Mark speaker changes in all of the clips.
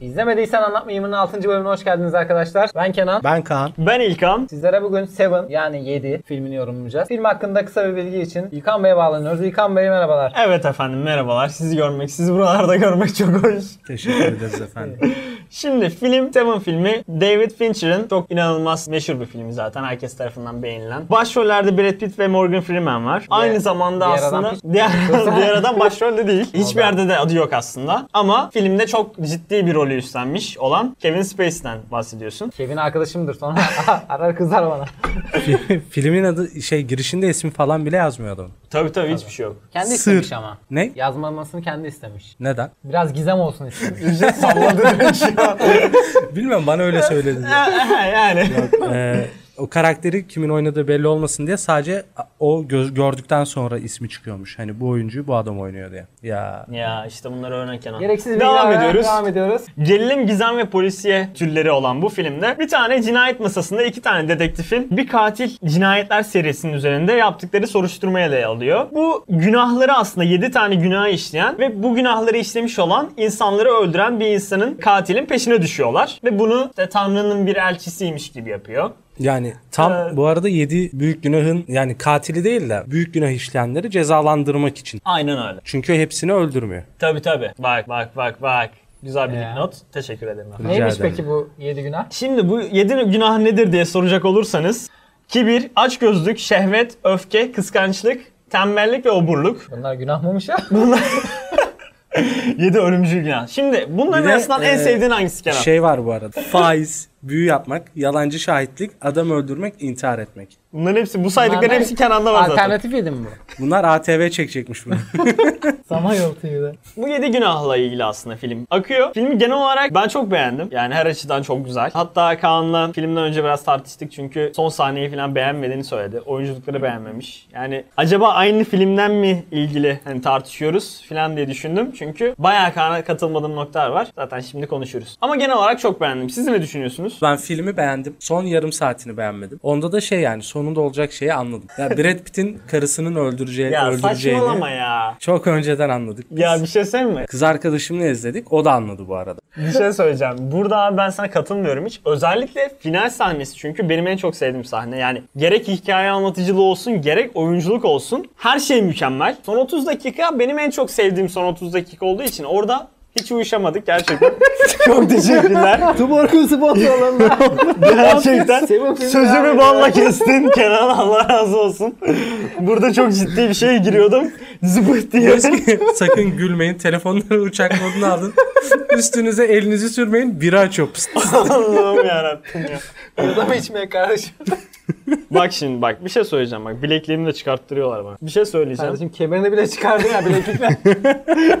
Speaker 1: İzlemediysen Anlatmayım'ın 6. bölümüne hoş geldiniz arkadaşlar. Ben Kenan.
Speaker 2: Ben Kaan.
Speaker 3: Ben İlkan.
Speaker 1: Sizlere bugün Seven yani 7 filmini yorumlayacağız. Film hakkında kısa bir bilgi için İlkan Bey'e bağlanıyoruz. İlkan Bey merhabalar.
Speaker 3: Evet efendim merhabalar. Sizi görmek, sizi buralarda görmek çok hoş.
Speaker 2: Teşekkür ederiz efendim.
Speaker 3: Şimdi film Seven filmi David Fincher'ın çok inanılmaz meşhur bir filmi zaten. Herkes tarafından beğenilen. Başrollerde Brad Pitt ve Morgan Freeman var. Aynı zamanda
Speaker 1: diğer adam
Speaker 3: aslında
Speaker 1: hiç-
Speaker 3: diğer, diğer adam başrolde değil. Hiçbir yerde de adı yok aslında. Ama filmde çok ciddi bir rolü üstlenmiş olan Kevin Spacey'den bahsediyorsun.
Speaker 1: Kevin arkadaşımdır sonra arar kızar bana.
Speaker 2: Fi- Filmin adı şey girişinde ismi falan bile yazmıyordu.
Speaker 3: Tabii tabii hiçbir şey yok.
Speaker 1: Kendi
Speaker 2: Sır.
Speaker 1: istemiş ama.
Speaker 2: Ne?
Speaker 1: Yazmamasını kendi istemiş.
Speaker 2: Neden?
Speaker 1: Biraz gizem olsun istemiş.
Speaker 2: Bilmem bana öyle söyledi.
Speaker 3: yani.
Speaker 2: Ee, o karakteri kimin oynadığı belli olmasın diye sadece o gö- gördükten sonra ismi çıkıyormuş. Hani bu oyuncuyu bu adam oynuyor diye. Ya
Speaker 3: ya işte bunları örnek Kenan.
Speaker 1: Gereksiz bir
Speaker 3: Devam
Speaker 1: ilave,
Speaker 3: ediyoruz.
Speaker 1: Devam ediyoruz.
Speaker 3: Gerilim, gizem ve polisiye türleri olan bu filmde bir tane cinayet masasında iki tane dedektifin bir katil cinayetler serisinin üzerinde yaptıkları soruşturmaya ele alıyor. Bu günahları aslında 7 tane günah işleyen ve bu günahları işlemiş olan insanları öldüren bir insanın katilin peşine düşüyorlar. Ve bunu de Tanrı'nın bir elçisiymiş gibi yapıyor.
Speaker 2: yani tam
Speaker 3: Ee,
Speaker 2: bu arada 7 büyük günahın yani katili değil de büyük günah işleyenleri cezalandırmak için.
Speaker 3: Aynen öyle.
Speaker 2: Çünkü hepsini öldürmüyor.
Speaker 3: Tabi tabi. Bak bak bak bak. Güzel bir
Speaker 1: Ya.
Speaker 3: not. Teşekkür ederim. efendim.
Speaker 2: Rica
Speaker 1: Neymiş
Speaker 2: ederim.
Speaker 1: peki bu 7 günah?
Speaker 3: Şimdi bu yedi günah nedir diye soracak olursanız kibir, açgözlük, şehvet, öfke, kıskançlık, tembellik ve oburluk.
Speaker 1: Bunlar günah mıymış ya?
Speaker 3: Yedi ölümcül günah. Şimdi bunların
Speaker 2: Bir de,
Speaker 3: arasından en
Speaker 2: e,
Speaker 3: sevdiğin hangisi Kenan?
Speaker 2: Şey var bu arada. Faiz, büyü yapmak, yalancı şahitlik, adam öldürmek, intihar etmek.
Speaker 3: Bunların hepsi, bu saydıkların
Speaker 1: Bunlar-
Speaker 3: hepsi Kenan'da var zaten.
Speaker 1: Alternatif yedim bu.
Speaker 2: Bunlar ATV çekecekmiş bunu.
Speaker 1: Samanyolu TV'de.
Speaker 3: Bu yedi günahla ilgili aslında film akıyor. Filmi genel olarak ben çok beğendim. Yani her açıdan çok güzel. Hatta Kaan'la filmden önce biraz tartıştık çünkü son sahneyi falan beğenmediğini söyledi. Oyunculukları beğenmemiş. Yani acaba aynı filmden mi ilgili hani tartışıyoruz falan diye düşündüm. Çünkü bayağı Kaan'a katılmadığım noktalar var. Zaten şimdi konuşuruz. Ama genel olarak çok beğendim. Siz ne düşünüyorsunuz?
Speaker 2: Ben filmi beğendim. Son yarım saatini beğenmedim. Onda da şey yani sonunda olacak şeyi anladım. Ya Brad Pitt'in karısının öldüreceği,
Speaker 3: Ya
Speaker 2: öldüreceğini
Speaker 3: saçmalama ya.
Speaker 2: çok önceden anladık. biz.
Speaker 3: Ya bir şey söyleyeyim mi?
Speaker 2: Kız arkadaşımla izledik. O da anladı bu arada.
Speaker 3: Bir şey söyleyeceğim. Burada abi ben sana katılmıyorum hiç. Özellikle final sahnesi çünkü benim en çok sevdiğim sahne. Yani gerek hikaye anlatıcılığı olsun gerek oyunculuk olsun her şey mükemmel. Son 30 dakika benim en çok sevdiğim son 30 dakika olduğu için orada hiç uyuşamadık gerçekten. çok teşekkürler.
Speaker 1: Tuborkun sponsorlarında.
Speaker 3: gerçekten
Speaker 1: Seven filmi devam
Speaker 3: sözümü
Speaker 1: ediyor.
Speaker 3: balla kestin Kenan Allah razı olsun. Burada çok ciddi bir şeye giriyordum. Zıpırt diye.
Speaker 2: Keşke sakın gülmeyin. Telefonları uçak moduna alın. Üstünüze elinizi sürmeyin. Bira açıyor. Pst.
Speaker 3: Allah'ım yarabbim ya.
Speaker 1: Adam içmeye karışıyor.
Speaker 3: Bak şimdi bak bir şey söyleyeceğim bak bilekliğimi de çıkarttırıyorlar bana. Bir şey söyleyeceğim.
Speaker 1: Kardeşim kemerini bile çıkardı ya bileklikle.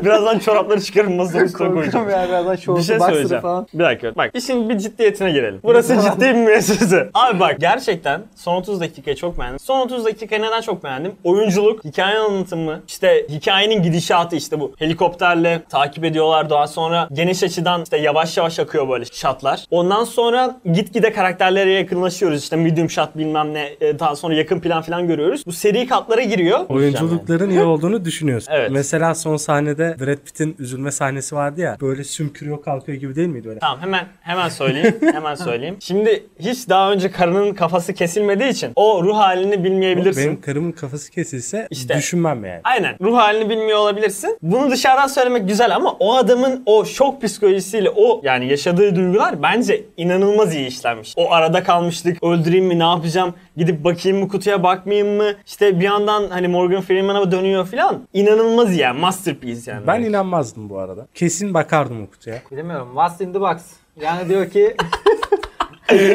Speaker 3: Birazdan çorapları çıkarın masanın üstüne koyacağım.
Speaker 1: Korkuyorum ya birazdan şortu
Speaker 3: Bir şey söyleyeceğim.
Speaker 1: falan.
Speaker 3: Bir dakika. Bak işin bir ciddiyetine gelelim. Burası ciddi bir müessese. Abi bak gerçekten son 30 dakikayı çok beğendim. Son 30 dakika neden çok beğendim? Oyunculuk, hikaye anlatımı, işte hikayenin gidişatı işte bu. Helikopterle takip ediyorlar daha sonra geniş açıdan işte yavaş yavaş akıyor böyle şatlar. Ondan sonra gitgide karakterlere yakınlaşıyoruz. İşte medium shot bilmem ne e, daha sonra yakın plan falan görüyoruz. Bu seri katlara giriyor.
Speaker 2: Oyunculukların iyi olduğunu düşünüyorsun.
Speaker 3: Evet.
Speaker 2: Mesela son sahnede Brad Pitt'in üzülme sahnesi vardı ya. Böyle sümkürüyor kalkıyor gibi değil miydi öyle?
Speaker 3: Tamam hemen hemen söyleyeyim. hemen söyleyeyim. Şimdi hiç daha önce karının kafası kesilmediği için o ruh halini bilmeyebilirsin.
Speaker 2: Benim karımın kafası kesilse
Speaker 3: İşte.
Speaker 2: düşünmem yani.
Speaker 3: Aynen. Ruh halini bilmiyor olabilirsin. Bunu dışarıdan söylemek güzel ama o adamın o şok psikolojisiyle o yani yaşadığı duygular bence inanılmaz iyi işlenmiş. O arada kalmışlık, öldüreyim mi, ne yapacağım, gidip bakayım mı, kutuya bakmayayım mı? İşte bir yandan hani Morgan Freeman'a dönüyor falan. İnanılmaz iyi yani. Masterpiece yani.
Speaker 2: Ben inanmazdım bu arada. Kesin bakardım o kutuya.
Speaker 1: Bilmiyorum. What's in the box? Yani diyor ki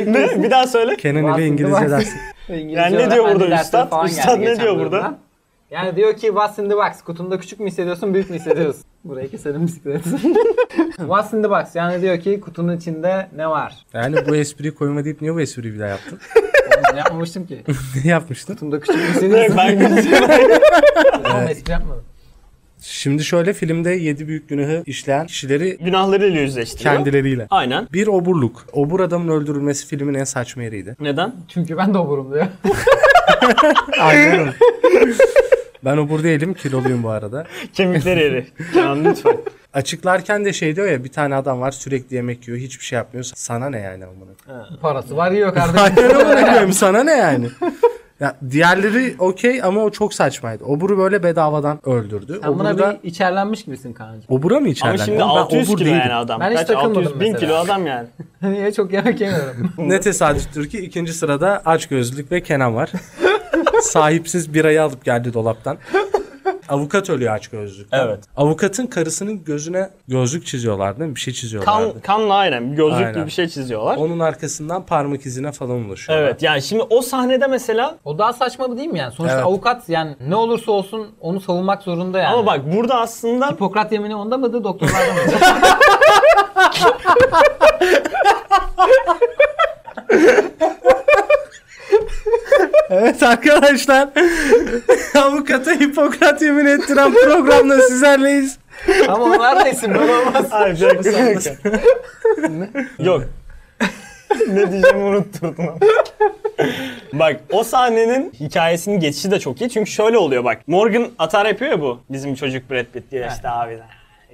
Speaker 3: ne? Bir daha söyle.
Speaker 2: Kenan
Speaker 1: What's
Speaker 2: ile
Speaker 1: in the
Speaker 2: İngilizce
Speaker 1: box?
Speaker 2: dersi.
Speaker 1: İngilizce
Speaker 3: Yani ne diyor
Speaker 1: öğretmenlik
Speaker 3: burada
Speaker 1: dersleri
Speaker 3: üstad?
Speaker 1: falan geldi
Speaker 3: Üstad ne
Speaker 1: geçen
Speaker 3: diyor burada?
Speaker 1: bölümden. Yani diyor ki what's in the box? Kutunda küçük mü hissediyorsun, büyük mü hissediyorsun? Burayı keselim bisikleti. what's in the box? Yani diyor ki kutunun içinde ne var?
Speaker 2: Yani bu espriyi koyma deyip niye bu espriyi bir daha yaptın?
Speaker 1: Oğlum, yapmamıştım ki.
Speaker 2: ne yapmıştın?
Speaker 1: Kutumda küçük mü
Speaker 3: Evet,
Speaker 1: hissediyorsun?
Speaker 3: ben
Speaker 1: Ama espri yapmadım.
Speaker 2: Şimdi şöyle filmde 7 büyük günahı işleyen kişileri
Speaker 3: günahlarıyla yüzleştiriyor.
Speaker 2: kendileriyle.
Speaker 3: Aynen.
Speaker 2: Bir oburluk. Obur adamın öldürülmesi filmin en saçma yeriydi.
Speaker 3: Neden?
Speaker 1: Çünkü ben de oburum diyor.
Speaker 2: Aynen. Ben obur değilim kiloluyum bu arada.
Speaker 3: Kemikleri eri. Kenan lütfen.
Speaker 2: Açıklarken de şey diyor ya bir tane adam var sürekli yemek yiyor hiçbir şey yapmıyor. Sana ne yani amına?
Speaker 1: Parası var yiyor kardeşim.
Speaker 2: Aynen amına koyayım sana ne yani? Ya diğerleri okey ama o çok saçmaydı. Oburu böyle bedavadan öldürdü.
Speaker 1: Sen buna
Speaker 2: Oburu da...
Speaker 1: bir içerlenmiş gibisin kancım.
Speaker 2: Obura mı içerlendi?
Speaker 3: Ama şimdi
Speaker 2: Oğlum ben
Speaker 3: 600
Speaker 2: obur
Speaker 3: kilo
Speaker 2: değilim.
Speaker 3: yani adam.
Speaker 1: Ben hiç
Speaker 3: Kaç?
Speaker 1: takılmadım
Speaker 3: 600 bin
Speaker 1: mesela.
Speaker 3: kilo adam yani.
Speaker 1: Niye çok yemek yemiyorum.
Speaker 2: Ne tesadüftür ki ikinci sırada açgözlülük ve Kenan var. Sahipsiz birayı alıp geldi dolaptan. Avukat ölüyor açgözlülükten.
Speaker 3: Evet.
Speaker 2: Avukatın karısının gözüne gözlük çiziyorlar değil mi? Bir şey çiziyorlardı.
Speaker 3: Kan, kanla aynen. Gözlük gibi
Speaker 2: Aynen.
Speaker 3: bir şey çiziyorlar.
Speaker 2: Onun arkasından parmak izine falan ulaşıyorlar.
Speaker 3: Evet yani şimdi o sahnede mesela
Speaker 1: O daha saçma değil mi yani? Sonuçta
Speaker 2: Evet.
Speaker 1: avukat yani ne olursa olsun onu savunmak zorunda yani.
Speaker 3: ama bak burada aslında
Speaker 1: Hipokrat yemini onda mıydı doktorlarda mıydı?
Speaker 2: Evet arkadaşlar. Avukata Hipokrat yemin ettiren programla sizlerleyiz.
Speaker 1: Ama onlar da isim böyle olmaz.
Speaker 3: Hayır bir dakika, bir dakika. Yok. ne diyeceğimi unutturdun ama. bak o sahnenin hikayesinin geçişi de çok iyi. Çünkü şöyle oluyor bak. Morgan atar yapıyor ya bu. Bizim çocuk Brad Pitt diye işte abi.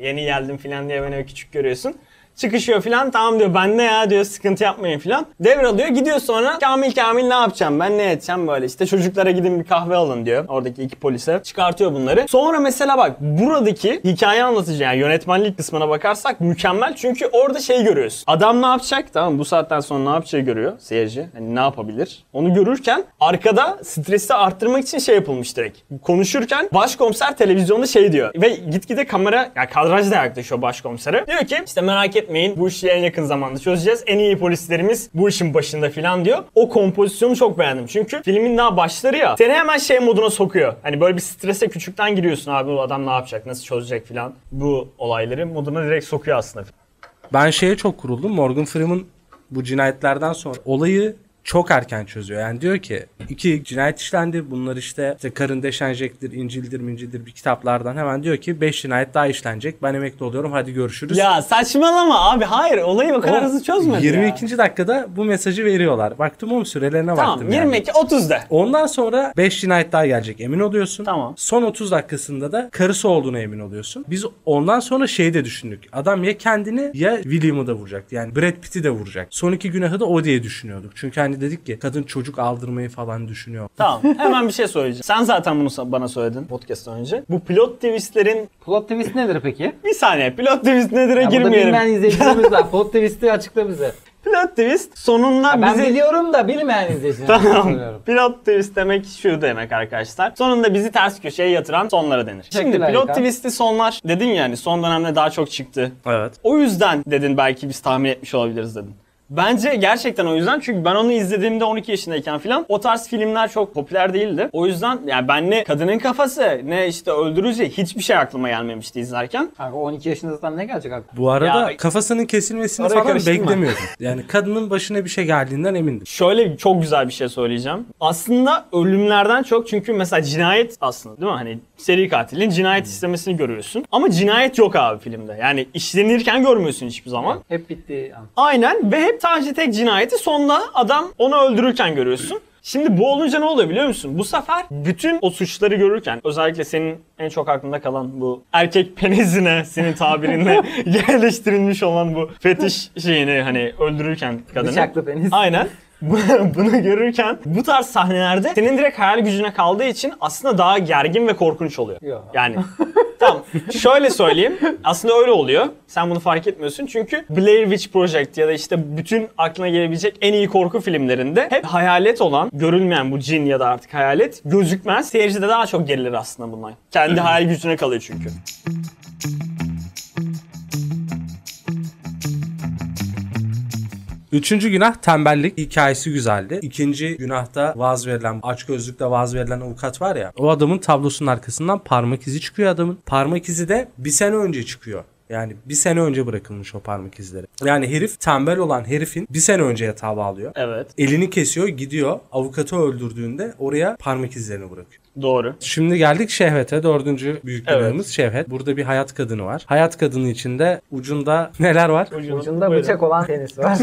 Speaker 3: Yeni geldim falan diye beni öyle küçük görüyorsun. Çıkışıyor falan tamam diyor ben ne ya diyor sıkıntı yapmayın falan. Devralıyor gidiyor sonra Kamil Kamil ne yapacağım ben ne edeceğim böyle işte çocuklara gidin bir kahve alın diyor. Oradaki iki polise çıkartıyor bunları. Sonra mesela bak buradaki hikaye anlatıcı yani yönetmenlik kısmına bakarsak mükemmel. Çünkü orada şey görüyoruz. Adam ne yapacak tamam mı? bu saatten sonra ne yapacağı görüyor seyirci. Hani ne yapabilir? Onu görürken arkada stresi arttırmak için şey yapılmış direkt. Konuşurken başkomiser televizyonda şey diyor. Ve gitgide kamera ya kadraj da yaklaşıyor başkomisere. Diyor ki işte merak etmeyin bu işi en yakın zamanda çözeceğiz. En iyi polislerimiz bu işin başında filan diyor. O kompozisyonu çok beğendim. Çünkü filmin daha başları ya seni hemen şey moduna sokuyor. Hani böyle bir strese küçükten giriyorsun abi bu adam ne yapacak nasıl çözecek filan. Bu olayları moduna direkt sokuyor aslında.
Speaker 2: Ben şeye çok kuruldum. Morgan Freeman bu cinayetlerden sonra olayı çok erken çözüyor. Yani diyor ki iki cinayet işlendi. Bunlar işte, işte karın deşenecektir, incildir, mincildir bir kitaplardan hemen diyor ki 5 cinayet daha işlenecek. Ben emekli oluyorum. Hadi görüşürüz.
Speaker 3: Ya saçmalama abi hayır olayı o kadar
Speaker 2: O
Speaker 3: hızlı çözmedi
Speaker 2: 22. dakikada bu mesajı veriyorlar. Baktım oğlum sürelerine
Speaker 3: Tamam
Speaker 2: baktım. yani.
Speaker 3: 22 30 de.
Speaker 2: Ondan sonra 5 cinayet daha gelecek emin oluyorsun.
Speaker 3: Tamam.
Speaker 2: Son 30 dakikasında da karısı olduğuna emin oluyorsun. Biz ondan sonra şeyi de düşündük. Adam ya kendini ya William'ı da vuracaktı. Yani Brad Pitt'i de vuracak. Son iki günahı da o diye düşünüyorduk. Çünkü hani dedik ki kadın çocuk aldırmayı falan düşünüyor.
Speaker 3: Tamam hemen bir şey söyleyeceğim. Sen zaten bunu sa- bana söyledin podcast önce. Bu pilot twistlerin
Speaker 1: Plot twist nedir peki?
Speaker 3: bir saniye pilot twist nedir'e
Speaker 1: Ya burada
Speaker 3: girmeyelim.
Speaker 1: bilmeyen izleyicilerimiz var. Plot twist'i açıkla bize.
Speaker 3: Pilot twist sonunda
Speaker 1: Ben
Speaker 3: bizi...
Speaker 1: biliyorum da bilmeyen izleyicilerimiz.
Speaker 3: Tamam. Pilot twist demek şu demek arkadaşlar. Sonunda bizi ters köşeye yatıran sonlara denir. Şimdi
Speaker 1: Teşekkürler
Speaker 3: pilot
Speaker 1: İlkan.
Speaker 3: twist'i sonlar dedin yani son dönemde daha çok çıktı.
Speaker 2: Evet.
Speaker 3: O yüzden dedin belki biz tahmin etmiş olabiliriz dedin. Bence gerçekten o yüzden çünkü ben onu izlediğimde 12 yaşındayken falan o tarz filmler çok popüler değildi. O yüzden yani ben ne kadının kafası ne işte öldürücü hiçbir şey aklıma gelmemişti izlerken.
Speaker 1: Kanka 12 yaşındasın ne gelecek aklına?
Speaker 2: Bu arada
Speaker 3: Ya-
Speaker 2: kafasının kesilmesini
Speaker 3: Oraya
Speaker 2: falan
Speaker 3: karıştırma.
Speaker 2: beklemiyordum. Yani kadının başına bir şey geldiğinden emindim.
Speaker 3: Şöyle çok güzel bir şey söyleyeceğim. Aslında ölümlerden çok çünkü mesela cinayet aslında değil mi? Hani seri katilin cinayet işlemesini görüyorsun. Ama cinayet yok abi filmde. Yani işlenirken görmüyorsun hiçbir zaman.
Speaker 1: Hep bitti.
Speaker 3: Aynen ve hep sadece tek cinayeti sonda adam onu öldürürken görüyorsun. Şimdi bu olunca ne oluyor biliyor musun? Bu sefer bütün o suçları görürken özellikle senin en çok aklında kalan bu erkek penizine senin tabirinle yerleştirilmiş olan bu fetiş şeyini hani öldürürken kadını.
Speaker 1: Bıçaklı penis.
Speaker 3: Aynen. Bu- Bunu görürken bu tarz sahnelerde senin direkt hayal gücüne kaldığı için aslında daha gergin ve korkunç oluyor.
Speaker 1: Yok.
Speaker 3: Yani tamam şöyle söyleyeyim. Aslında öyle oluyor. Sen bunu fark etmiyorsun çünkü Blair Witch Project ya da işte bütün aklına gelebilecek en iyi korku filmlerinde hep hayalet olan, görülmeyen bu cin ya da artık hayalet gözükmez. Seyircide daha çok gerilir aslında bunlar. Kendi hayal gücüne kalıyor çünkü.
Speaker 2: Üçüncü günah tembellik. Hikayesi güzeldi. İkinci günahta vaz verilen, aç gözlükle vaz verilen avukat var ya. O adamın tablosunun arkasından parmak izi çıkıyor adamın. Parmak izi de bir sene önce çıkıyor. Yani bir sene önce bırakılmış o parmak izleri. Yani herif tembel olan herifin bir sene önce yatağa bağlıyor.
Speaker 3: Evet
Speaker 2: Elini kesiyor gidiyor avukatı öldürdüğünde oraya parmak izlerini bırakıyor.
Speaker 3: doğru.
Speaker 2: Şimdi geldik şehvete. Dördüncü büyük
Speaker 3: Evet.
Speaker 2: günahımız şehvet. Burada bir hayat kadını var. Hayat kadını içinde ucunda neler var?
Speaker 1: Ucunda
Speaker 3: Buyurun.
Speaker 1: bıçak olan penis var.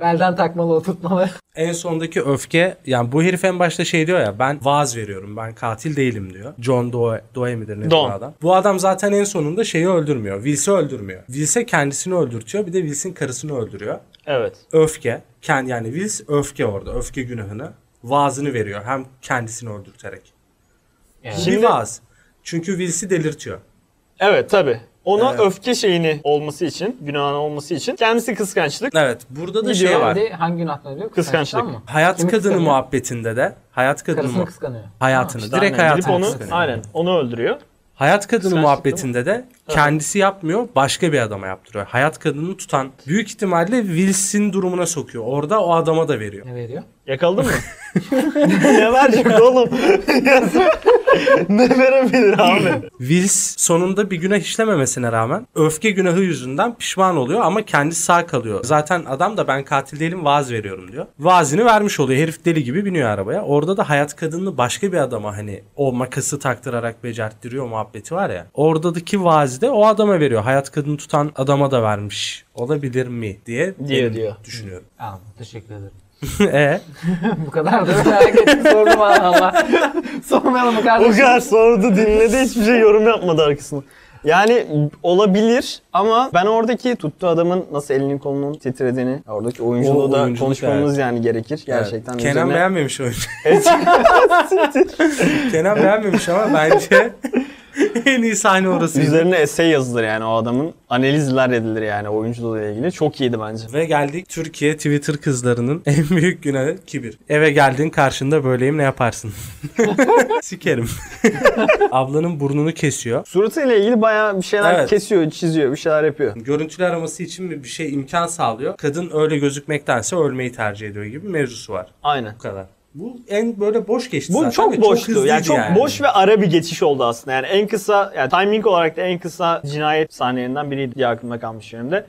Speaker 1: Belden takmalı oturtmalı.
Speaker 2: En sondaki öfke yani bu herif en başta şey diyor ya ben vaaz veriyorum ben katil değilim diyor. John Doe, Doe midir ne
Speaker 3: Don.
Speaker 2: bu adam. Bu adam zaten en sonunda şeyi öldürmüyor. Wills'i öldürmüyor. Wills'e kendisini öldürtüyor bir de Wills'in karısını öldürüyor.
Speaker 3: Evet.
Speaker 2: Öfke kendi yani Wills öfke orada öfke günahını vaazını veriyor hem kendisini öldürterek.
Speaker 3: Şimdi-
Speaker 2: Bir vaaz. Çünkü Wills'i delirtiyor.
Speaker 3: Evet tabi. Ona
Speaker 2: Evet.
Speaker 3: öfke şeyini olması için, günahın olması için kendisi kıskançlık.
Speaker 2: Evet burada da
Speaker 3: Gidiyor
Speaker 2: şey var.
Speaker 1: Şimdi hangi günahtan ölüyor?
Speaker 3: Kıskançlık.
Speaker 1: mı?
Speaker 2: Hayat
Speaker 1: Kimi
Speaker 2: kadını
Speaker 1: kıskanıyor?
Speaker 2: muhabbetinde de hayat kadını
Speaker 1: Karısını
Speaker 2: mu-
Speaker 1: kıskanıyor.
Speaker 2: hayatını
Speaker 3: İşte
Speaker 2: direkt
Speaker 3: aynen.
Speaker 2: hayatını
Speaker 3: Gidip onu,
Speaker 2: kıskanıyor.
Speaker 3: aynen onu öldürüyor.
Speaker 2: Hayat kadını
Speaker 3: Kıskançlık
Speaker 2: muhabbetinde de kendisi yapmıyor başka bir adama yaptırıyor. Hayat kadını tutan büyük ihtimalle Wilson durumuna sokuyor. Orada o adama da veriyor.
Speaker 1: Ne veriyor?
Speaker 3: Yakaladın mı? ne verecek oğlum? ne verebilir abi?
Speaker 2: Wills sonunda bir günah işlememesine rağmen öfke günahı yüzünden pişman oluyor ama kendisi sağ kalıyor. Zaten adam da ben katil değilim vaaz veriyorum diyor. Vaazini vermiş oluyor. Herif deli gibi biniyor arabaya. Orada da hayat kadını başka bir adama hani o makası taktırarak becerttiriyor muhabbeti var ya. Oradaki vaazi de o adama veriyor. Hayat kadını tutan adama da vermiş. Olabilir mi diye
Speaker 3: Diye
Speaker 2: benim
Speaker 3: diyor.
Speaker 2: düşünüyorum.
Speaker 1: Tamam teşekkür ederim.
Speaker 2: e
Speaker 1: Bu kadar da merak ettim sordum Allah Allah. Sormayalım mı
Speaker 3: O
Speaker 1: kardeşim?
Speaker 3: kadar sordu dinledi hiçbir şey yorum yapmadı arkasına. Yani olabilir ama ben oradaki tuttu adamın nasıl elinin kolunun titrediğini, oradaki oyunculuğu
Speaker 2: O
Speaker 3: da
Speaker 2: oyunculuk
Speaker 3: konuşmamız yani gerekir gerçekten.
Speaker 2: Kenan
Speaker 3: üzerine-
Speaker 2: beğenmemiş oyunu. Kenan beğenmemiş ama bence en iyi sahne orasıydı.
Speaker 3: Üzerine essay yazılır yani o adamın. Analizler edilir yani oyunculuğuyla ilgili. Çok iyiydi bence.
Speaker 2: Ve geldik Türkiye Twitter kızlarının en büyük günahı kibir. Eve geldin karşında böyleyim ne yaparsın? Sikerim. Ablanın burnunu kesiyor.
Speaker 3: Suratıyla ilgili bayağı bir şeyler
Speaker 2: Evet.
Speaker 3: kesiyor, çiziyor, bir şeyler yapıyor.
Speaker 2: Görüntülü araması için mi bir şey imkan sağlıyor. Kadın öyle gözükmektense ölmeyi tercih ediyor gibi mevzusu var.
Speaker 3: Aynen.
Speaker 2: Bu kadar. Bu en böyle boş geçti
Speaker 3: Bu
Speaker 2: zaten ve
Speaker 3: çok boştu.
Speaker 2: hızlıydı
Speaker 3: yani çok boş ve ara bir geçiş oldu aslında. Yani en kısa, yani timing olarak da en kısa cinayet sahnelerinden biriydi diye aklımda kalmış benim de.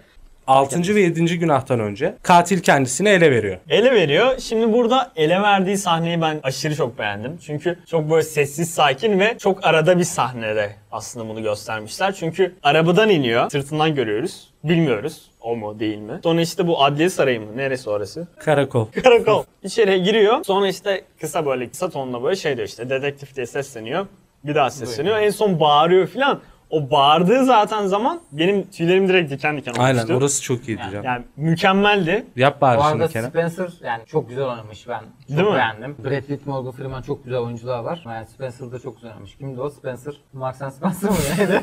Speaker 2: 6. ve 7. günahtan önce katil kendisini ele veriyor.
Speaker 3: Ele veriyor. Şimdi burada ele verdiği sahneyi ben aşırı çok beğendim. Çünkü çok böyle sessiz, sakin ve çok arada bir sahnede aslında bunu göstermişler. Çünkü arabadan iniyor. Sırtından görüyoruz. Bilmiyoruz o mu değil mi. Sonra işte bu adliye sarayı mı? Neresi orası?
Speaker 2: Karakol.
Speaker 3: Karakol. İçeriye giriyor. Sonra işte kısa böyle kısa tonla böyle şey diyor işte dedektif diye sesleniyor. Bir daha sesleniyor. En son bağırıyor filan. O bağırdığı zaten zaman benim tüylerim direkt diken diken olmuştu.
Speaker 2: Aynen orası çok iyi diyeceğim.
Speaker 3: Yani mükemmeldi.
Speaker 2: Yap
Speaker 1: Bu
Speaker 2: bari
Speaker 1: arada
Speaker 2: şunu Kenan.
Speaker 1: Spencer yani çok güzel oynamış ben. Çok
Speaker 3: Değil mi?
Speaker 1: beğendim. Brad Pitt, Morgan Freeman çok güzel oyuncular var. Yani Spencer da çok güzel oynamış. Kimdi o? Spencer. Marks and Spencer mı neydi?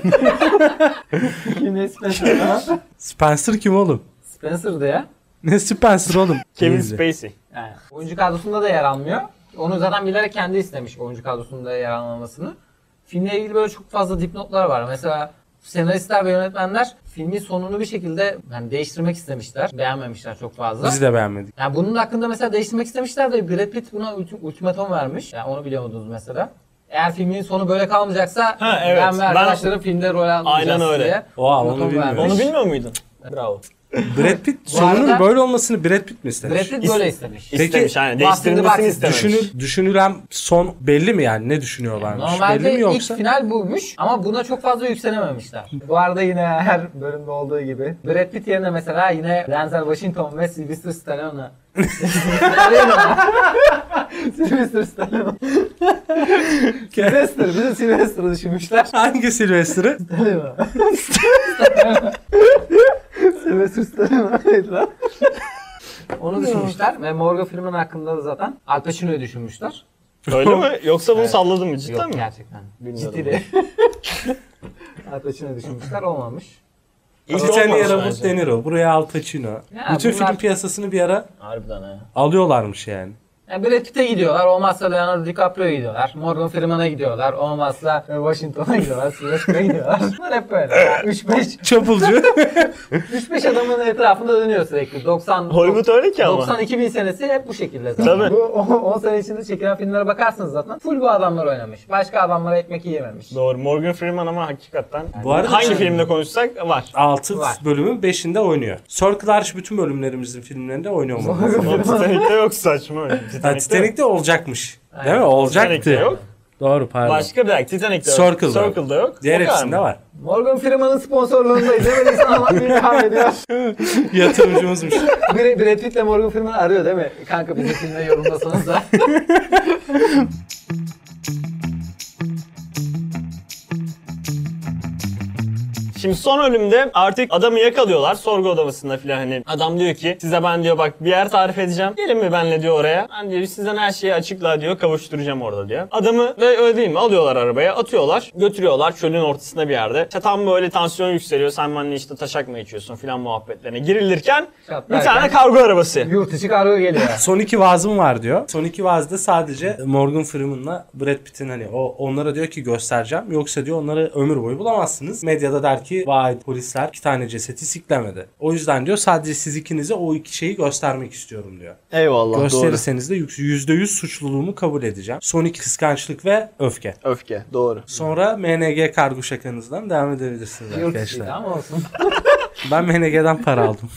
Speaker 1: Kimdi Spencer? lan?
Speaker 2: Spencer kim oğlum?
Speaker 1: Spencer'dı ya.
Speaker 2: Ne Spencer oğlum?
Speaker 3: Kevin
Speaker 2: Neyse.
Speaker 3: Spacey.
Speaker 1: Yani oyuncu kadrosunda da yer almıyor. Onu zaten bilerek kendi istemiş oyuncu kadrosunda yer almamasını. Filmle ilgili böyle çok fazla dipnotlar var. Mesela senaristler ve yönetmenler filmin sonunu bir şekilde yani değiştirmek istemişler. Beğenmemişler çok fazla.
Speaker 2: Biz de beğenmedik.
Speaker 1: Yani bunun hakkında mesela değiştirmek istemişler de Brad Pitt buna ultim- ultimatom vermiş. Yani onu biliyor muydunuz mesela? Eğer filmin sonu böyle kalmayacaksa
Speaker 3: Ha, evet.
Speaker 1: ben ve
Speaker 3: Ben-
Speaker 1: arkadaşlarım filmde rol almayacağız
Speaker 3: Aynen öyle.
Speaker 1: diye.
Speaker 2: Oha, onu
Speaker 1: ultimatom
Speaker 2: bilmiyorum.
Speaker 1: vermiş.
Speaker 3: Onu bilmiyor muydun?
Speaker 1: Bravo.
Speaker 2: Brad Pitt
Speaker 1: Bu arada-
Speaker 2: sonunun böyle olmasını Brad Pitt mi istemiş?
Speaker 1: Brad Pitt böyle istemiş.
Speaker 2: Peki,
Speaker 3: istemiş yani
Speaker 1: Bastırdı
Speaker 3: değiştirilmesini
Speaker 1: bak,
Speaker 3: istememiş.
Speaker 2: Düşünül, düşünülen son belli mi yani? Ne düşünüyorlarmış? belli
Speaker 1: Normalde
Speaker 2: mi yoksa?
Speaker 1: ilk final buymuş ama buna çok fazla yükselememişler. Bu arada yine her bölümde olduğu gibi Brad Pitt yerine mesela yine Denzel Washington ve Sylvester Stallone. Stallone. Sylvester Stallone. Sylvester, bir de Sylvester'ı düşünmüşler.
Speaker 2: Hangi Sylvester'ı?
Speaker 1: Stallone. Sylvester Stallone neydi lan? Onu düşünmüşler ve Morgan Freeman hakkında da zaten Al Pacino'yu düşünmüşler.
Speaker 3: Öyle mi? Yoksa bunu salladım mı cidden
Speaker 1: Yok
Speaker 3: mi?
Speaker 1: gerçekten. Ciddi de. Al Pacino düşünmüşler olmamış.
Speaker 3: Hiç
Speaker 2: Bir tane
Speaker 3: olmamış
Speaker 2: yere Robert
Speaker 3: bence.
Speaker 2: De Niro, buraya Al Pacino.
Speaker 1: Ya
Speaker 2: Bütün
Speaker 1: bunlar-
Speaker 2: film piyasasını bir ara
Speaker 3: Harbiden ha.
Speaker 2: alıyorlarmış yani.
Speaker 1: Yani Brad Pitt'e gidiyorlar, olmazsa Leonardo DiCaprio'ya gidiyorlar, Morgan Freeman'a gidiyorlar, olmazsa Washington'a gidiyorlar, Sylvester'a gidiyorlar. Bunlar hep böyle. 3-5
Speaker 2: Çapulcu.
Speaker 1: 3-5 adamın etrafında dönüyor sürekli. 90
Speaker 3: Hollywood öyle ki ama.
Speaker 1: 92 bin senesi hep bu şekilde zaten.
Speaker 3: Tabii.
Speaker 1: Bu 10 sene içinde çekilen filmlere bakarsınız zaten. Full bu adamlar oynamış. Başka adamlara ekmek yiyememiş.
Speaker 3: Doğru. Morgan Freeman ama hakikaten.
Speaker 2: Bu arada şey-
Speaker 3: hangi
Speaker 2: şimdi-
Speaker 3: filmde konuşsak var.
Speaker 2: 6
Speaker 1: Var.
Speaker 2: bölümün 5'inde oynuyor. Circle Arch bütün bölümlerimizin filmlerinde oynuyor mu?
Speaker 3: Ama Titanic'te yok saçma öyle.
Speaker 2: Ha, Titanic'te olacakmış. Değil mi?
Speaker 1: Aynen.
Speaker 2: Olacaktı.
Speaker 3: Titanic'te yok.
Speaker 2: Doğru pardon.
Speaker 3: Başka bir dakika Titanic'te yok.
Speaker 2: Circle'da yok.
Speaker 3: Circle'da yok.
Speaker 2: Diğer
Speaker 3: O kadar
Speaker 2: hepsinde
Speaker 3: mı?
Speaker 2: var.
Speaker 1: Morgan Freeman'ın sponsorluğunda izlemediysen Allah bir devam ediyor.
Speaker 2: Yatırımcımızmış.
Speaker 1: Br- Brad Pitt'le Morgan Freeman arıyor değil mi? Kanka bizi filmde yorumlasanız da.
Speaker 3: Şimdi son ölümde artık adamı yakalıyorlar sorgu odasında filan hani. Adam diyor ki size ben diyor bak bir yer tarif edeceğim. Gelin mi benle diyor oraya. Ben diyor sizden her şeyi açıkla diyor kavuşturacağım orada diyor. Adamı ve öyle değil mi alıyorlar arabaya atıyorlar götürüyorlar çölün ortasında bir yerde. İşte tam böyle tansiyon yükseliyor sen benimle işte taşak mı içiyorsun filan muhabbetlerine girilirken bir
Speaker 1: Çatlarken.
Speaker 3: tane kargo arabası.
Speaker 1: Yurt içi kargo geliyor.
Speaker 2: Son iki vaazım var diyor. Son iki vaazda sadece Morgan Freeman'la Brad Pitt'in hani o onlara diyor ki göstereceğim. Yoksa diyor onları ömür boyu bulamazsınız. Medyada der ki vay polisler iki tane ceseti siklemedi. O yüzden diyor sadece siz ikinize o iki şeyi göstermek istiyorum diyor.
Speaker 3: Eyvallah
Speaker 2: Gösterirseniz de yük- yüzde yüz suçluluğumu kabul edeceğim. Son iki kıskançlık ve öfke.
Speaker 3: Öfke doğru.
Speaker 2: Sonra MNG kargo şakanızdan devam edebilirsiniz
Speaker 1: Yurt içi
Speaker 2: arkadaşlar.
Speaker 1: ama olsun.
Speaker 2: Ben MNG'den para aldım.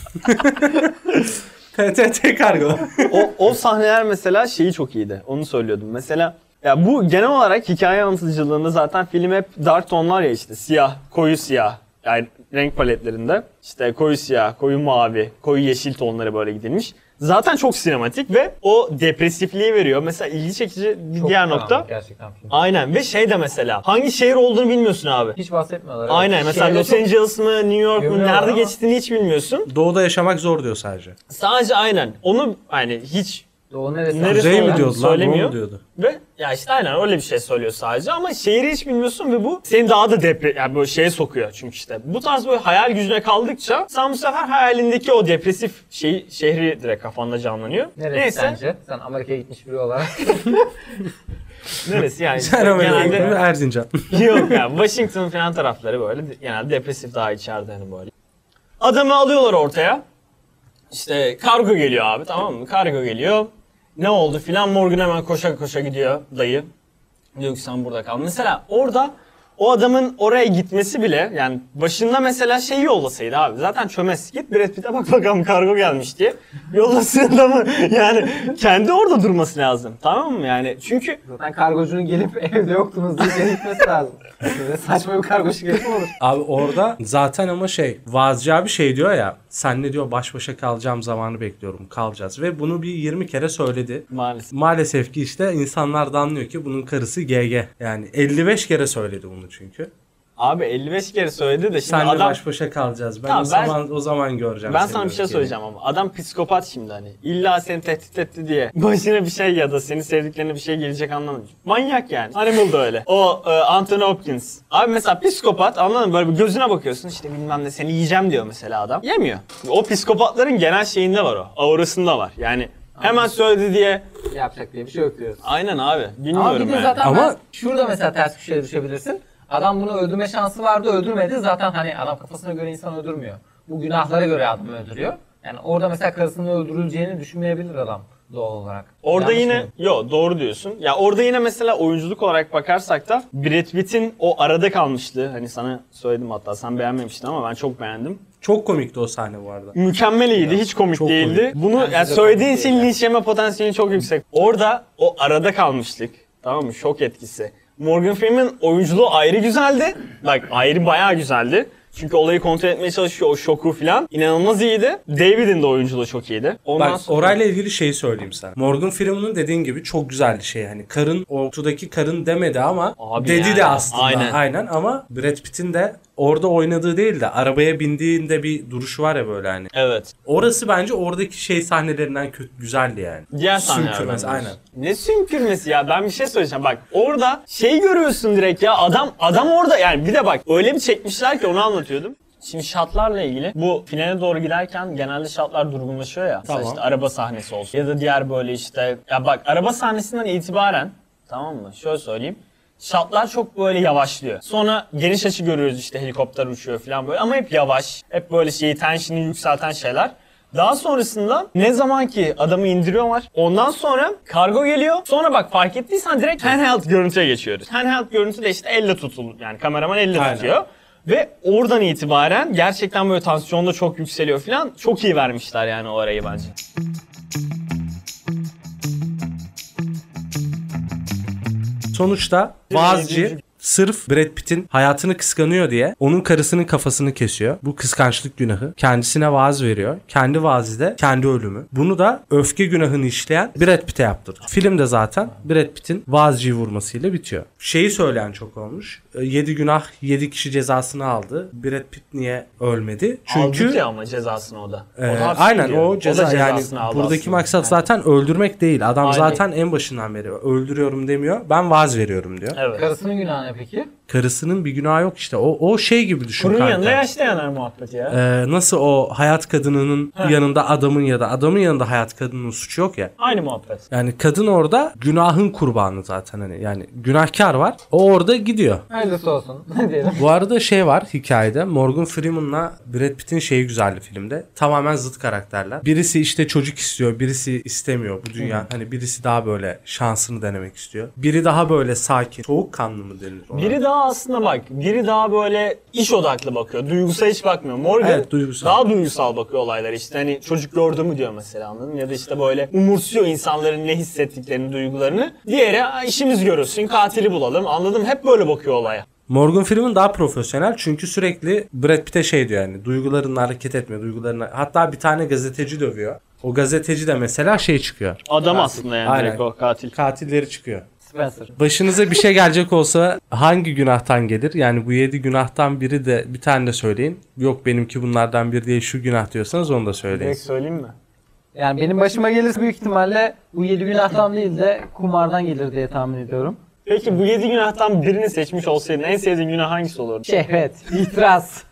Speaker 2: TTT kargo.
Speaker 3: o, o sahneler mesela şeyi çok iyiydi. Onu söylüyordum. Mesela ya bu genel olarak hikaye anlatıcılığında zaten film hep dark tonlar ya işte siyah, koyu siyah. Yani renk paletlerinde işte koyu siyah, koyu mavi, koyu yeşil tonları böyle gidilmiş. Zaten çok sinematik ve o depresifliği veriyor. Mesela ilgi çekici bir
Speaker 1: Çok
Speaker 3: diğer
Speaker 1: karanlık
Speaker 3: nokta.
Speaker 1: Gerçekten film.
Speaker 3: Aynen ve şey de mesela hangi şehir olduğunu bilmiyorsun abi.
Speaker 1: Hiç bahsetmiyorlar. Şey evet.
Speaker 3: Aynen mesela
Speaker 1: Şeyde
Speaker 3: Los
Speaker 1: çok-
Speaker 3: Angeles mı, New York mu,
Speaker 1: Gömüyorlar
Speaker 3: nerede
Speaker 1: ama-
Speaker 3: geçtiğini hiç bilmiyorsun.
Speaker 2: Doğuda yaşamak zor diyor sadece.
Speaker 3: Sadece aynen. Onu yani hiç
Speaker 1: Doğu neresi?
Speaker 3: Neresi
Speaker 2: Kuzey mi
Speaker 3: olan
Speaker 2: diyordu lan? Doğu
Speaker 3: söylemiyor.
Speaker 2: mu diyordu?
Speaker 3: Ve ya işte aynen öyle bir şey söylüyor sadece ama şehri hiç bilmiyorsun ve bu seni daha da depre yani böyle şeye sokuyor çünkü işte. Bu tarz böyle hayal gücüne kaldıkça sen bu sefer hayalindeki o depresif şey, şehri direkt kafanda canlanıyor.
Speaker 1: Neresi sence? Sen Amerika'ya gitmiş biri olarak.
Speaker 3: Neresi yani?
Speaker 2: Sen Amerika'ya
Speaker 3: Genelde-
Speaker 2: gittin, Erzincan.
Speaker 3: Yok ya Washington falan tarafları böyle de- genelde depresif daha içeride hani böyle. Adamı alıyorlar ortaya. İşte kargo geliyor abi tamam mı? Kargo geliyor. Ne oldu filan Morgan hemen koşa koşa gidiyor dayı. Diyor ki sen burada kal. Mesela orada o adamın oraya gitmesi bile yani başında mesela şeyi yollasaydı abi zaten çömez. Git Brad Pitt'e bak bakalım kargo gelmiş diye. Yollasın adamı yani kendi orada durması lazım tamam mı yani çünkü
Speaker 1: Zaten kargocunun gelip evde yoktunuz diye geri gitmesi lazım. Böyle saçma bir kargo şirketi mi olur?
Speaker 2: Abi orada zaten ama şey vaazcı abi şey diyor ya senle diyor baş başa kalacağım zamanı bekliyorum kalacağız ve bunu bir 20 kere söyledi.
Speaker 3: maalesef.
Speaker 2: Maalesef ki işte insanlar da anlıyor ki bunun karısı GG. Yani 55 kere söyledi bunu çünkü.
Speaker 3: Abi 55 kere söyledi de şimdi
Speaker 2: Senle
Speaker 3: adam
Speaker 2: baş başa kalacağız. Ben
Speaker 3: Tamam,
Speaker 2: o
Speaker 3: ben-
Speaker 2: zaman o zaman göreceğim.
Speaker 3: ben
Speaker 2: seni
Speaker 3: sana bir şey
Speaker 2: diyor.
Speaker 3: söyleyeceğim ama adam psikopat şimdi hani. İlla seni tehdit etti diye başına bir şey ya da seni sevdiklerine bir şey gelecek anlamadım. Manyak yani. Animal da öyle. O e, Anthony Hopkins. Abi mesela psikopat anladın mı? Böyle bir gözüne bakıyorsun işte bilmem ne seni yiyeceğim diyor mesela adam. Yemiyor. O psikopatların genel şeyinde var o. Aurasında var. Yani hemen söyledi diye.
Speaker 1: Yapacak diye bir şey yok diyoruz.
Speaker 3: Aynen abi. Bilmiyorum
Speaker 1: Ama bir de
Speaker 3: yani.
Speaker 1: zaten
Speaker 2: Ama-
Speaker 1: ben şurada mesela ters köşeye düşebilirsin. Adam bunu öldürme şansı vardı öldürmedi. Zaten hani adam kafasına göre insan öldürmüyor. Bu günahlara göre adam öldürüyor. Yani orada mesela karısının öldürüleceğini düşünmeyebilir adam doğal olarak.
Speaker 3: Orada
Speaker 1: Yanlış
Speaker 3: yine
Speaker 1: mıyım?
Speaker 3: yo doğru diyorsun. Ya orada yine mesela oyunculuk olarak bakarsak da Brad Pitt'in o arada kalmışlığı hani sana söyledim hatta sen beğenmemiştin ama ben çok beğendim.
Speaker 2: Çok komikti o sahne bu arada.
Speaker 3: Mükemmel iyiydi. Hiç komik
Speaker 2: çok
Speaker 3: değildi.
Speaker 2: komik.
Speaker 3: Bunu
Speaker 1: Bence
Speaker 3: yani
Speaker 1: de
Speaker 3: söylediğin
Speaker 1: komik
Speaker 3: için
Speaker 1: değil.
Speaker 3: linç yeme potansiyeli çok yüksek. Orada o arada kalmışlık. Tamam mı? Şok etkisi. Morgan Freeman oyunculuğu ayrı güzeldi. Bak ayrı bayağı güzeldi. Çünkü olayı kontrol etmeye çalışıyor o şoku filan. İnanılmaz iyiydi. David'in de oyunculuğu çok iyiydi. Ondan
Speaker 2: Bak
Speaker 3: sonra-
Speaker 2: orayla ilgili şeyi söyleyeyim sana. Morgan Freeman'ın dediğin gibi çok güzel bir şey. Hani karın ortadaki karın demedi ama
Speaker 3: Abi
Speaker 2: dedi
Speaker 3: yani.
Speaker 2: de aslında.
Speaker 3: Aynen.
Speaker 2: Aynen. ama Brad Pitt'in de orada oynadığı değil de arabaya bindiğinde bir duruşu var ya böyle hani.
Speaker 3: Evet.
Speaker 2: Orası bence oradaki şey sahnelerinden kötü güzeldi yani.
Speaker 3: Diğer sahneler
Speaker 2: Sümkürmez,
Speaker 3: bence.
Speaker 2: aynen.
Speaker 3: Ne sümkürmesi ya ben bir şey söyleyeceğim bak orada şey görüyorsun direkt ya adam adam orada yani bir de bak öyle bir çekmişler ki onu anlatıyordum. Şimdi şatlarla ilgili bu finale doğru giderken genelde şatlar durgunlaşıyor ya. Mesela
Speaker 2: Tamam.
Speaker 3: işte araba sahnesi olsun ya da diğer böyle işte ya bak araba sahnesinden itibaren tamam mı şöyle söyleyeyim. Şatlar çok böyle yavaşlıyor. Sonra geniş açı görüyoruz işte helikopter uçuyor falan böyle ama hep yavaş. Hep böyle şeyi tension'ı yükselten şeyler. Daha sonrasında ne zaman ki adamı indiriyorlar ondan sonra kargo geliyor. Sonra bak fark ettiysen direkt handheld görüntüye geçiyoruz. Handheld görüntü de işte elle tutulur yani kameraman elle
Speaker 2: Aynen.
Speaker 3: tutuyor. Ve oradan itibaren gerçekten böyle tansiyon da çok yükseliyor falan. Çok iyi vermişler yani o arayı bence.
Speaker 2: Sonuçta Vazcı sırf Brad Pitt'in hayatını kıskanıyor diye onun karısının kafasını kesiyor. Bu kıskançlık günahı. Kendisine vaaz veriyor. Kendi vaazı da kendi ölümü. Bunu da öfke günahını işleyen Brad Pitt'e yaptırıyor. Film de zaten Brad Pitt'in vaazcıyı vurmasıyla bitiyor. Şeyi söyleyen çok olmuş. 7 günah 7 kişi cezasını aldı. Brad Pitt niye ölmedi?
Speaker 3: Çünkü
Speaker 2: Çünkü
Speaker 3: Aldı ki ama cezasını o da. O da
Speaker 2: ee,
Speaker 3: hapis
Speaker 2: aynen
Speaker 3: yiyor.
Speaker 2: o ceza
Speaker 3: da
Speaker 2: yani
Speaker 3: cezasını aldı
Speaker 2: buradaki
Speaker 3: aslında.
Speaker 2: maksat zaten öldürmek değil. Adam
Speaker 3: Aynen.
Speaker 2: zaten en başından beri öldürüyorum demiyor. Ben vaaz veriyorum diyor.
Speaker 3: Evet.
Speaker 1: Karısının günahı ne peki?
Speaker 2: Karısının bir günahı yok işte. O o şey gibi düşün
Speaker 3: Bunun
Speaker 2: kanka.
Speaker 3: yanında yaşlı yanar muhabbeti ya.
Speaker 2: Ee, nasıl o hayat kadınının yanında adamın ya da adamın yanında hayat kadının suçu yok ya.
Speaker 3: Aynı muhabbet.
Speaker 2: Yani kadın orada günahın kurbanı zaten hani yani günahkar var. O orada gidiyor.
Speaker 1: Hayırlısı olsun. Ne diyelim?
Speaker 2: Bu arada şey var hikayede Morgan Freeman'la Brad Pitt'in şeyi güzeldi filmde. Tamamen zıt karakterler. Birisi işte çocuk istiyor, birisi istemiyor bu dünya. Hani birisi daha böyle şansını denemek istiyor. Biri daha böyle sakin, soğukkanlı mı denir ona?
Speaker 3: Biri daha aslında bak, biri daha böyle iş odaklı bakıyor. Duygusal hiç bakmıyor. Morgan
Speaker 2: Evet, duygusal.
Speaker 3: daha duygusal bakıyor olaylara. İşte hani çocuk gördü mü diyor mesela anladın mı? Ya da işte böyle umursuyor insanların ne hissettiklerini, duygularını. Diğeri "Aa, işimiz görülsün, katili bulalım anladım. Hep böyle bakıyor olaya.
Speaker 2: Morgan Freeman daha profesyonel çünkü sürekli Brad Pitt'e şey diyor yani duygularınla hareket etme, duygularına. Hatta bir tane gazeteci dövüyor. O gazeteci de mesela şey çıkıyor.
Speaker 3: Adam aslında yani
Speaker 2: Aynen.
Speaker 3: direkt o katil.
Speaker 2: Katilleri çıkıyor.
Speaker 1: Spencer.
Speaker 2: Başınıza bir şey gelecek olsa hangi günahtan gelir? Yani bu yedi günahtan biri de bir tane de söyleyin. Yok benimki bunlardan biri değil şu günah diyorsanız onu da söyleyin.
Speaker 3: Direkt söyleyeyim mi?
Speaker 1: Yani benim başıma gelirse büyük ihtimalle bu yedi günahtan değil de kumardan gelir diye tahmin ediyorum.
Speaker 3: Peki bu yedi günahtan birini seçmiş olsaydın en sevdiğin günah hangisi olurdu?
Speaker 1: Şehvet, itiraz.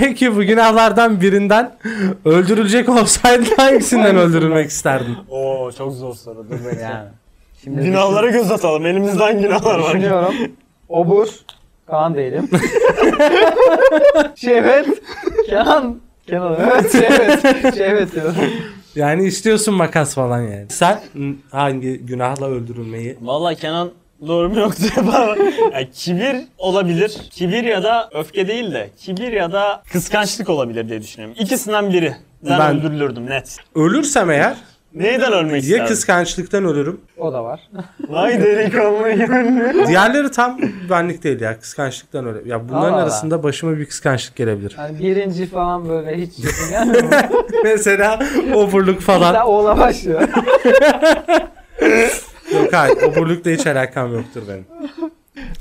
Speaker 2: Peki bu günahlardan birinden öldürülecek olsaydı hangisinden öldürülmek isterdin?
Speaker 3: Oo çok zor soru. Dur bekle.
Speaker 1: Yani. Şimdi
Speaker 3: Günahlara göz atalım. Elimizden günahlar var.
Speaker 1: Düşünüyorum. Obur. Kaan değilim. Şehvet. Kenan. Kenan. Evet şehvet. Şehvet diyorum.
Speaker 2: Yani istiyorsun makas falan yani. Sen n- hangi günahla öldürülmeyi?
Speaker 3: Vallahi Kenan doğrum yok diye bana. Yani kibir olabilir. Kibir ya da öfke değil de kibir ya da kıskançlık olabilir diye düşünüyorum. İkisinden biri. Ben,
Speaker 2: Ben-
Speaker 3: öldürülürdüm net.
Speaker 2: Ölürsem eğer
Speaker 3: Neyden ölmek
Speaker 2: ya
Speaker 3: isterdin?
Speaker 2: kıskançlıktan ölürüm.
Speaker 1: O da var.
Speaker 3: Vay delikanlı gönlü.
Speaker 2: Diğerleri tam benlik değil ya kıskançlıktan ölürüm. Ya bunların
Speaker 1: Allah Allah.
Speaker 2: arasında başıma bir kıskançlık gelebilir.
Speaker 1: Yani Hani birinci falan böyle hiç yakın gelmiyor.
Speaker 2: Mesela oburluk falan.
Speaker 1: Hatta oğla başlıyor.
Speaker 2: Yok hayır. Oburlukla hiç alakam yoktur benim.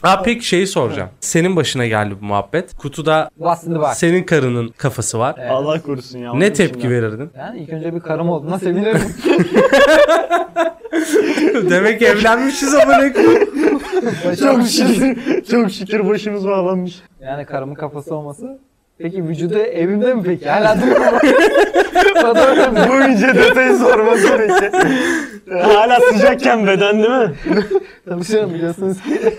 Speaker 2: Ha peki şeyi soracağım. Senin başına geldi bu muhabbet. Kutuda
Speaker 1: Bastını bak.
Speaker 2: senin karının kafası var.
Speaker 1: Evet.
Speaker 3: Allah korusun ya.
Speaker 2: Ne tepki verirdin?
Speaker 1: Yani ilk önce bir karım olduğuna sevinirim.
Speaker 2: Demek evlenmişiz ama ne
Speaker 1: Başım-
Speaker 3: şükür, çok şükür başımız bağlanmış.
Speaker 1: yani karımın kafası olması. Peki vücudu evimde mi peki? Hala durmuyor. Fotoğrafı mı?
Speaker 3: Bu ince detayı sorması peki. Hala sıcakken beden değil mi?
Speaker 1: Tanışıyorum biliyorsunuz ki.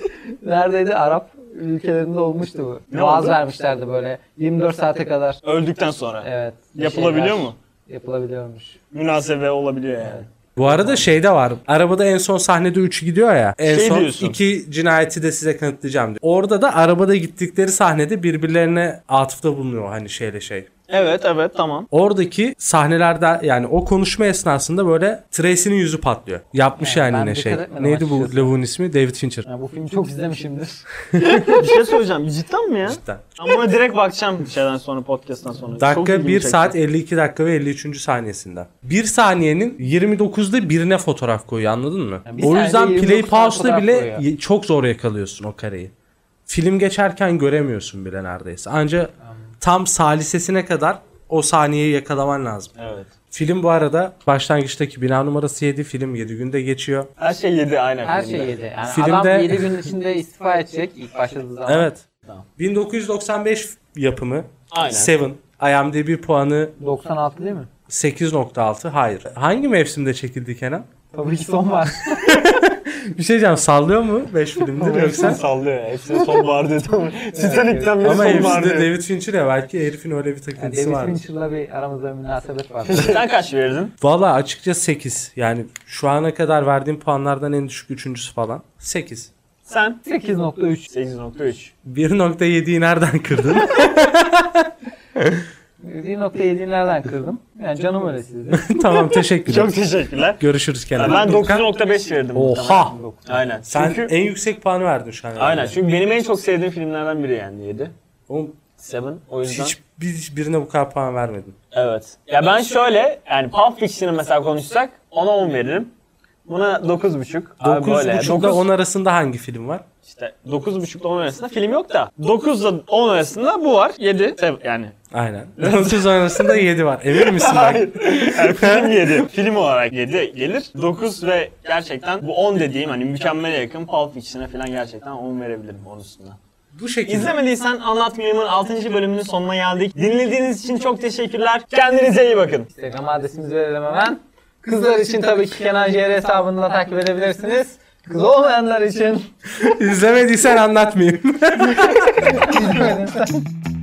Speaker 1: Neredeydi? Arap ülkelerinde olmuştu bu.
Speaker 3: Ne
Speaker 1: Vaaz
Speaker 3: oldu?
Speaker 1: vermişlerdi böyle 24 saate kadar.
Speaker 3: Öldükten sonra.
Speaker 1: Evet. bir
Speaker 3: Yapılabiliyor
Speaker 1: şeyler
Speaker 3: mu?
Speaker 1: Yapılabiliyormuş.
Speaker 3: Münasebe olabiliyor yani.
Speaker 2: Bu arada şey de var. Arabada en son sahnede 3 gidiyor ya. En
Speaker 3: Şey
Speaker 2: son
Speaker 3: diyorsun.
Speaker 2: iki cinayeti de size kanıtlayacağım diyor. Orada da arabada gittikleri sahnede birbirlerine atıfta bulunuyor hani şeyle şey.
Speaker 3: Evet evet tamam.
Speaker 2: Oradaki sahnelerde yani o konuşma esnasında böyle Tracy'nin yüzü patlıyor. Yapmış
Speaker 1: Evet,
Speaker 2: yani
Speaker 1: ben
Speaker 2: yine
Speaker 1: dikkat
Speaker 2: şey.
Speaker 1: etmedim
Speaker 2: Neydi bu
Speaker 1: açıkçası.
Speaker 2: lavuğun ismi? David Fincher.
Speaker 1: Yani bu filmi çok izlemişimdir.
Speaker 3: Bir şey söyleyeceğim. Cidden mi ya?
Speaker 2: Cidden.
Speaker 3: Ben buna direkt bakacağım şeyden sonra podcast'tan sonra. Çok
Speaker 2: Dakika
Speaker 3: ilgimi
Speaker 2: 1
Speaker 3: çekti.
Speaker 2: saat 52 dakika ve 53. saniyesinde. 1 saniyenin 29'da birine fotoğraf koyuyor anladın mı?
Speaker 1: Yani bir
Speaker 2: o
Speaker 1: saniyede
Speaker 2: yüzden
Speaker 1: 29
Speaker 2: play
Speaker 1: tane
Speaker 2: pause'da
Speaker 1: fotoğraf
Speaker 2: bile
Speaker 1: koyuyor.
Speaker 2: ye- çok zor yakalıyorsun o kareyi. Film geçerken göremiyorsun bile neredeyse. Anca tam salisesine kadar o saniyeyi yakalaman lazım.
Speaker 3: Evet.
Speaker 2: Film bu arada başlangıçtaki bina numarası 7 film 7 günde geçiyor.
Speaker 3: Her şey yedi aynen.
Speaker 1: Her
Speaker 3: filmde.
Speaker 1: şey yedi. Yani
Speaker 2: Filmde-
Speaker 1: adam 7 gün içinde istifa edecek ilk başladığı zaman.
Speaker 2: Evet.
Speaker 1: Tamam.
Speaker 2: 1995 yapımı
Speaker 3: Aynen.
Speaker 2: Seven IMDb puanı
Speaker 1: 96 değil mi?
Speaker 2: 8.6. Hayır. Hangi mevsimde çekildi Kenan?
Speaker 1: Tabii ki son var.
Speaker 2: Bir şey diyeceğim sallıyor mu 5 filmdir
Speaker 3: Hepsini
Speaker 2: yoksa?
Speaker 3: sallıyor ya. Hepsini son var dedi ama. Titanic'ten beri
Speaker 2: Ama
Speaker 3: son
Speaker 2: hepsi
Speaker 3: var
Speaker 2: de
Speaker 3: dedi.
Speaker 2: David Fincher ya belki herifin öyle bir takıntısı
Speaker 1: David
Speaker 2: var.
Speaker 1: Fincher'la bir aramızda bir münasebet var.
Speaker 3: Sen kaç verdin?
Speaker 2: Valla açıkça 8. Yani şu ana kadar verdiğim puanlardan en düşük üçüncüsü falan. 8.
Speaker 3: Sen?
Speaker 1: 8.3.
Speaker 3: 8.3.
Speaker 2: 1.7'yi nereden kırdın?
Speaker 1: 7.7'yi nereden kırdım? Yani canım öyle sizde.
Speaker 2: tamam teşekkürler.
Speaker 3: Çok teşekkürler.
Speaker 2: Görüşürüz Kenan.
Speaker 3: Ben 9.5 verirdim.
Speaker 2: Oha.
Speaker 3: Aynen.
Speaker 2: Sen
Speaker 3: Çünkü,
Speaker 2: en yüksek puanı verdin şu an.
Speaker 3: aynen. Çünkü benim en çok sevdiğim filmlerden biri yani 7.
Speaker 2: Oğlum,
Speaker 3: 7. O yüzden.
Speaker 2: hiç bir, birine bu kadar puan vermedin.
Speaker 3: Evet. Ya ben şöyle yani Pulp Fiction'ı mesela konuşsak ona 10 veririm. Buna 9.5. Abi
Speaker 2: 9.5 ile
Speaker 3: dokuz-
Speaker 2: 10 arasında hangi film var?
Speaker 3: İşte 9.5 ile 10 arasında film yok da 9 ile 10 arasında bu var. 7 yani.
Speaker 2: Aynen. 9 arasında 7 var. Emin misin? bak?
Speaker 3: Hayır. Yani film 7. film olarak 7 gelir. 9 ve gerçekten bu 10 dediğim hani mükemmele yakın Pulp Fiction'a falan gerçekten 10 verebilirim onun üstüne.
Speaker 2: Bu şekilde.
Speaker 3: İzlemediysen Anlatmayayım'ın 6. bölümünün sonuna geldik. Dinlediğiniz için çok teşekkürler. Kendinize iyi bakın.
Speaker 1: Instagram adresimizi verelim hemen. Kızlar için tabii ki Kenan JR hesabında takip edebilirsiniz. Kız olmayanlar için
Speaker 2: İzlemediysen anlatmayayım.
Speaker 1: bilmedim sen.